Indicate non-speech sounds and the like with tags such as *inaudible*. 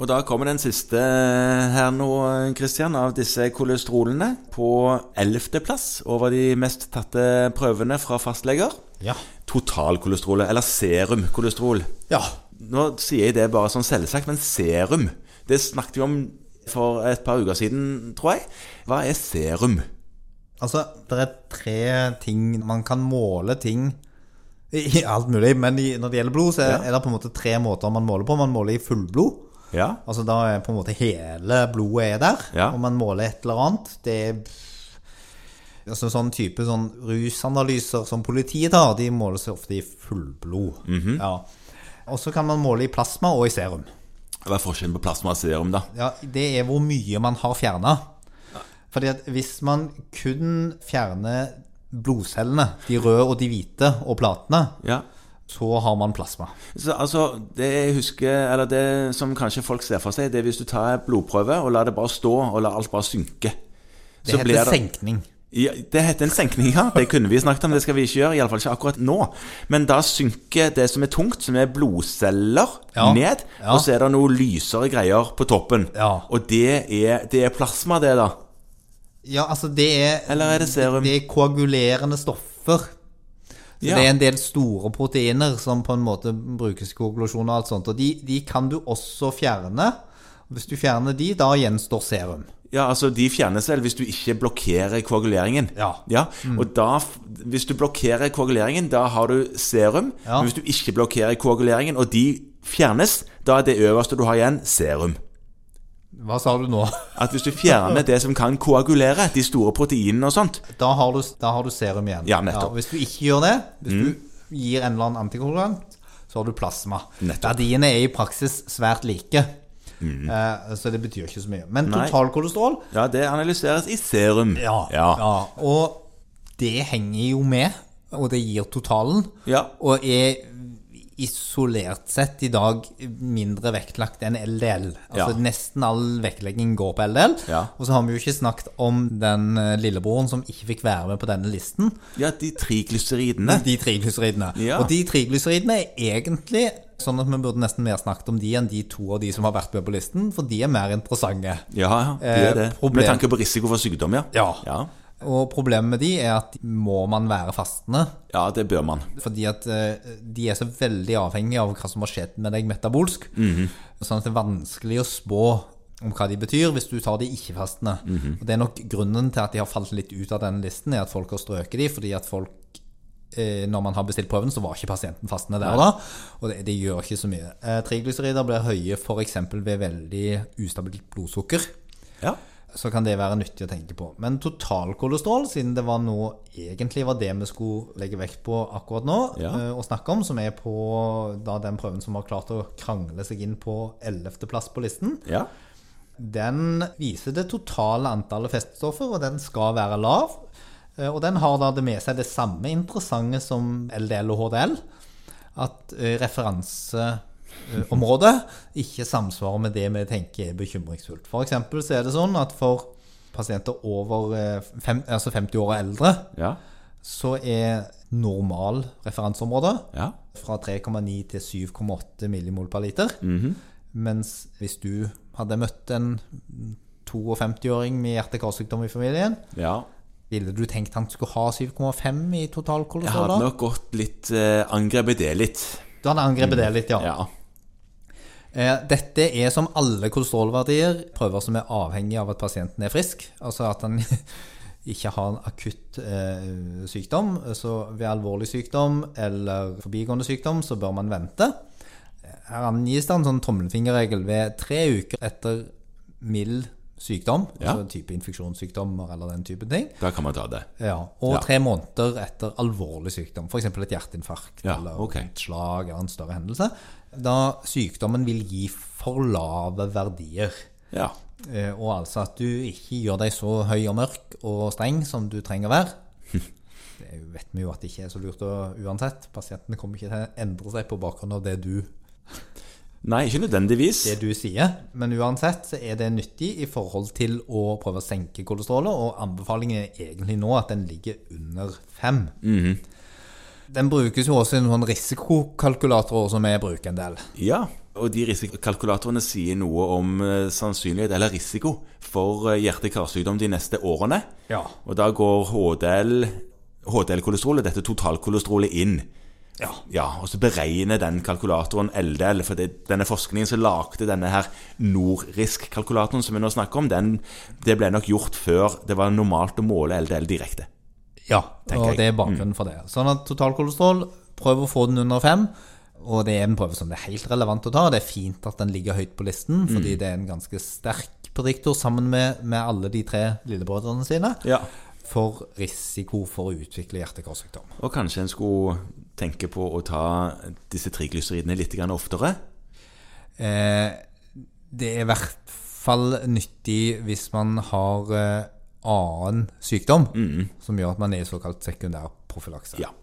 Og da kommer den siste eh, her nå, Kristian, av disse kolesterolene. På ellevteplass over de mest tatte prøvene fra fastleger. Ja. Totalkolesterolet, eller serumkolesterol. Ja. Nå sier jeg det bare sånn selvsagt, men serum Det snakket vi om for et par uker siden, tror jeg. Hva er serum? Altså, det er tre ting Man kan måle ting i i alt mulig, men i, når det gjelder blod, så er, Ja. er det på en måte tre måter man måler på. Man måler i fullblod. Ja. Altså da er på en måte hele blodet er der, Ja. og man måler et eller annet. Det er altså, sånn type sånn rusanalyser som politiet tar, de måles ofte i fullblod. Mhm. ja. Og så kan man måle i plasma og i serum. Hva er forskjellen på plasma og serum, da? Ja, det er hvor mye man har fjerna. Fordi at hvis man kun fjerner blodcellene, de røde og de hvite, og platene, Ja. så har man plasma. Så, altså, det jeg husker, eller det som kanskje folk ser for seg, det er hvis du tar en blodprøve og lar det bare stå, og lar alt bare synke. Det heter senkning. Ja, det heter en senkning, ja. Det kunne vi snakket om, det skal vi ikke gjøre. Iallfall ikke akkurat nå. Men da synker det som er tungt, som er blodceller, Ja. ned. Ja. Og så er det noe lysere greier på toppen. Ja. Og det er, det er plasma, det, da. Ja, altså det er Eller er det serum? Det er koagulerende stoffer. Så Ja. Det er en del store proteiner som på en måte brukes i koagulasjon og alt sånt. Og de, de kan du også fjerne. Hvis du fjerner de, da gjenstår serum. Ja, altså De fjerner selv hvis du ikke blokkerer koaguleringen. Ja. Mm. Og da, f- hvis du blokkerer koaguleringen, da har du serum. Ja. Men hvis du ikke blokkerer koaguleringen, og de fjernes, da er det øverste du har igjen, serum. Hva sa du nå? At hvis du fjerner det som kan koagulere, de store proteinene og sånt, Da har du, da har du serum igjen. Ja, nettopp. Mm. og hvis du ikke gjør det, hvis du gir en eller annen antikoagulant, så har du plasma. Nettopp. Mm. Verdiene er i praksis svært like. Eh, så det betyr ikke så mye. Men Nei. totalkolesterol Ja, det analyseres i serum. Ja, Ja. ja. Og det henger jo med, og det gir totalen. Ja. Og er isolert sett i dag mindre vektlagt enn LDL. Ja. Altså Nesten all vektlegging går på LDL. Ja. Og så har vi jo ikke snakket om den eh, lillebroren som ikke fikk være med på denne listen. Ja, de tre glyseridene. De triglyseridene. Ja. Og de triglyseridene er egentlig sånn at vi burde nesten mer snakket om de enn de to av de som har vært med på listen, for de er mer interessante. Ja, ja, de er Eh, det. problem- Med tanke på risiko for sykdom, ja. Ja. Ja, Og problemet med de er at må man være fastende? ja det bør man. Fordi at eh, de er så veldig avhengige av hva som har skjedd med deg metabolsk. Sånn at det er vanskelig å spå om hva de betyr hvis du tar de ikke-fastende. Og Det er nok grunnen til at de har falt litt ut av denne listen, er at folk har strøket de, fordi at folk eh, når man har bestilt prøven, så var ikke pasienten fastende der da. Og det, det gjør ikke så mye. Eh, Triglycerider blir høye f.eks. ved veldig ustabilt blodsukker Ja. så kan det være nyttig å tenke på. Men totalkolesterol, siden det var nå egentlig var det vi skulle legge vekt på akkurat nå, Ja. eh, og snakke om, som er på da den prøven som har klart å krangle seg inn på 11. plass på listen, ja. den viser det totale antallet feststoffer, og den skal være lav. Eh, Og den har da det med seg det samme interessante som LDL og HDL, at eh, referanseområdet eh, ikke samsvarer med det vi tenker er bekymringsfullt. For eksempel så er det sånn at for pasienter over eh, fem, altså 50 år og eldre, Ja. så er normal referanseområde Ja. fra 3,9 til 7,8 millimol per liter. Mhm. Mens hvis du hadde møtt en 52-åring med hjerte-karsykdom i familien, ja. ville du tenkt han skulle ha 7,5 i total Jeg kolesterol? hadde da? nok gått litt eh, angrepet det litt. Du hadde angrepet det litt, ja. Mm. Ja. Eh, Dette er som alle kolesterolverdier prøver som er avhengig av at pasienten er frisk. Altså at han *laughs* ikke har en akutt eh, sykdom. Så ved alvorlig sykdom eller forbigående sykdom så bør man vente. Her angis det en sånn tommelfingerregel ved tre uker etter mild sykdom, Ja. altså type infeksjonssykdommer eller den type ting. Da kan man ta det. Ja, og Ja. tre måneder etter alvorlig sykdom, f.eks. et hjerteinfarkt Ja, eller ok. et slag eller en større hendelse, da sykdommen vil gi for lave verdier. Ja. Eh, Og altså at du ikke gjør deg så høy og mørk og streng som du trenger å *laughs* være. Det vet vi jo at det ikke er så lurt å, uansett. Pasientene kommer ikke til å endre seg på bakgrunn av det du Nei, ikke nødvendigvis. det du sier, men uansett så er det nyttig i forhold til å prøve å senke Mhm. kolesterolet, og anbefalingen er egentlig nå at den ligger under fem. Den brukes jo også i noen risikokalkulatorer som vi bruker en del. Ja, og de risikokalkulatorene sier noe om eh, sannsynlighet eller risiko for eh, hjerte-karsykdom de neste årene. Ja. Og da går HDL, HDL-kolesterolet, dette totalkolesterolet, inn. Ja. og så beregner den kalkulatoren LDL, for det, denne forskningen som lagde denne her Nordrisk-kalkulatoren som vi nå snakker om, den, det ble nok gjort før det var normalt å måle LDL direkte. Ja, tenker og jeg. Mm. det er bakgrunnen for det. Sånn at totalkolesterol, prøv å få den under fem. Og det er en prøve som det er helt relevant å ta. Det er fint at den ligger høyt på listen, fordi Mm. det er en ganske sterk prediktor sammen med, med alle de tre lillebrødrene sine Ja. for risiko for å utvikle hjerte-karsykdom. Og kanskje en skulle tenke på å ta disse triglyceridene litt grann oftere. Eh, det er i hvert fall nyttig hvis man har eh, annen sykdom som gjør at man er i såkalt sekundærprofylakse. Ja.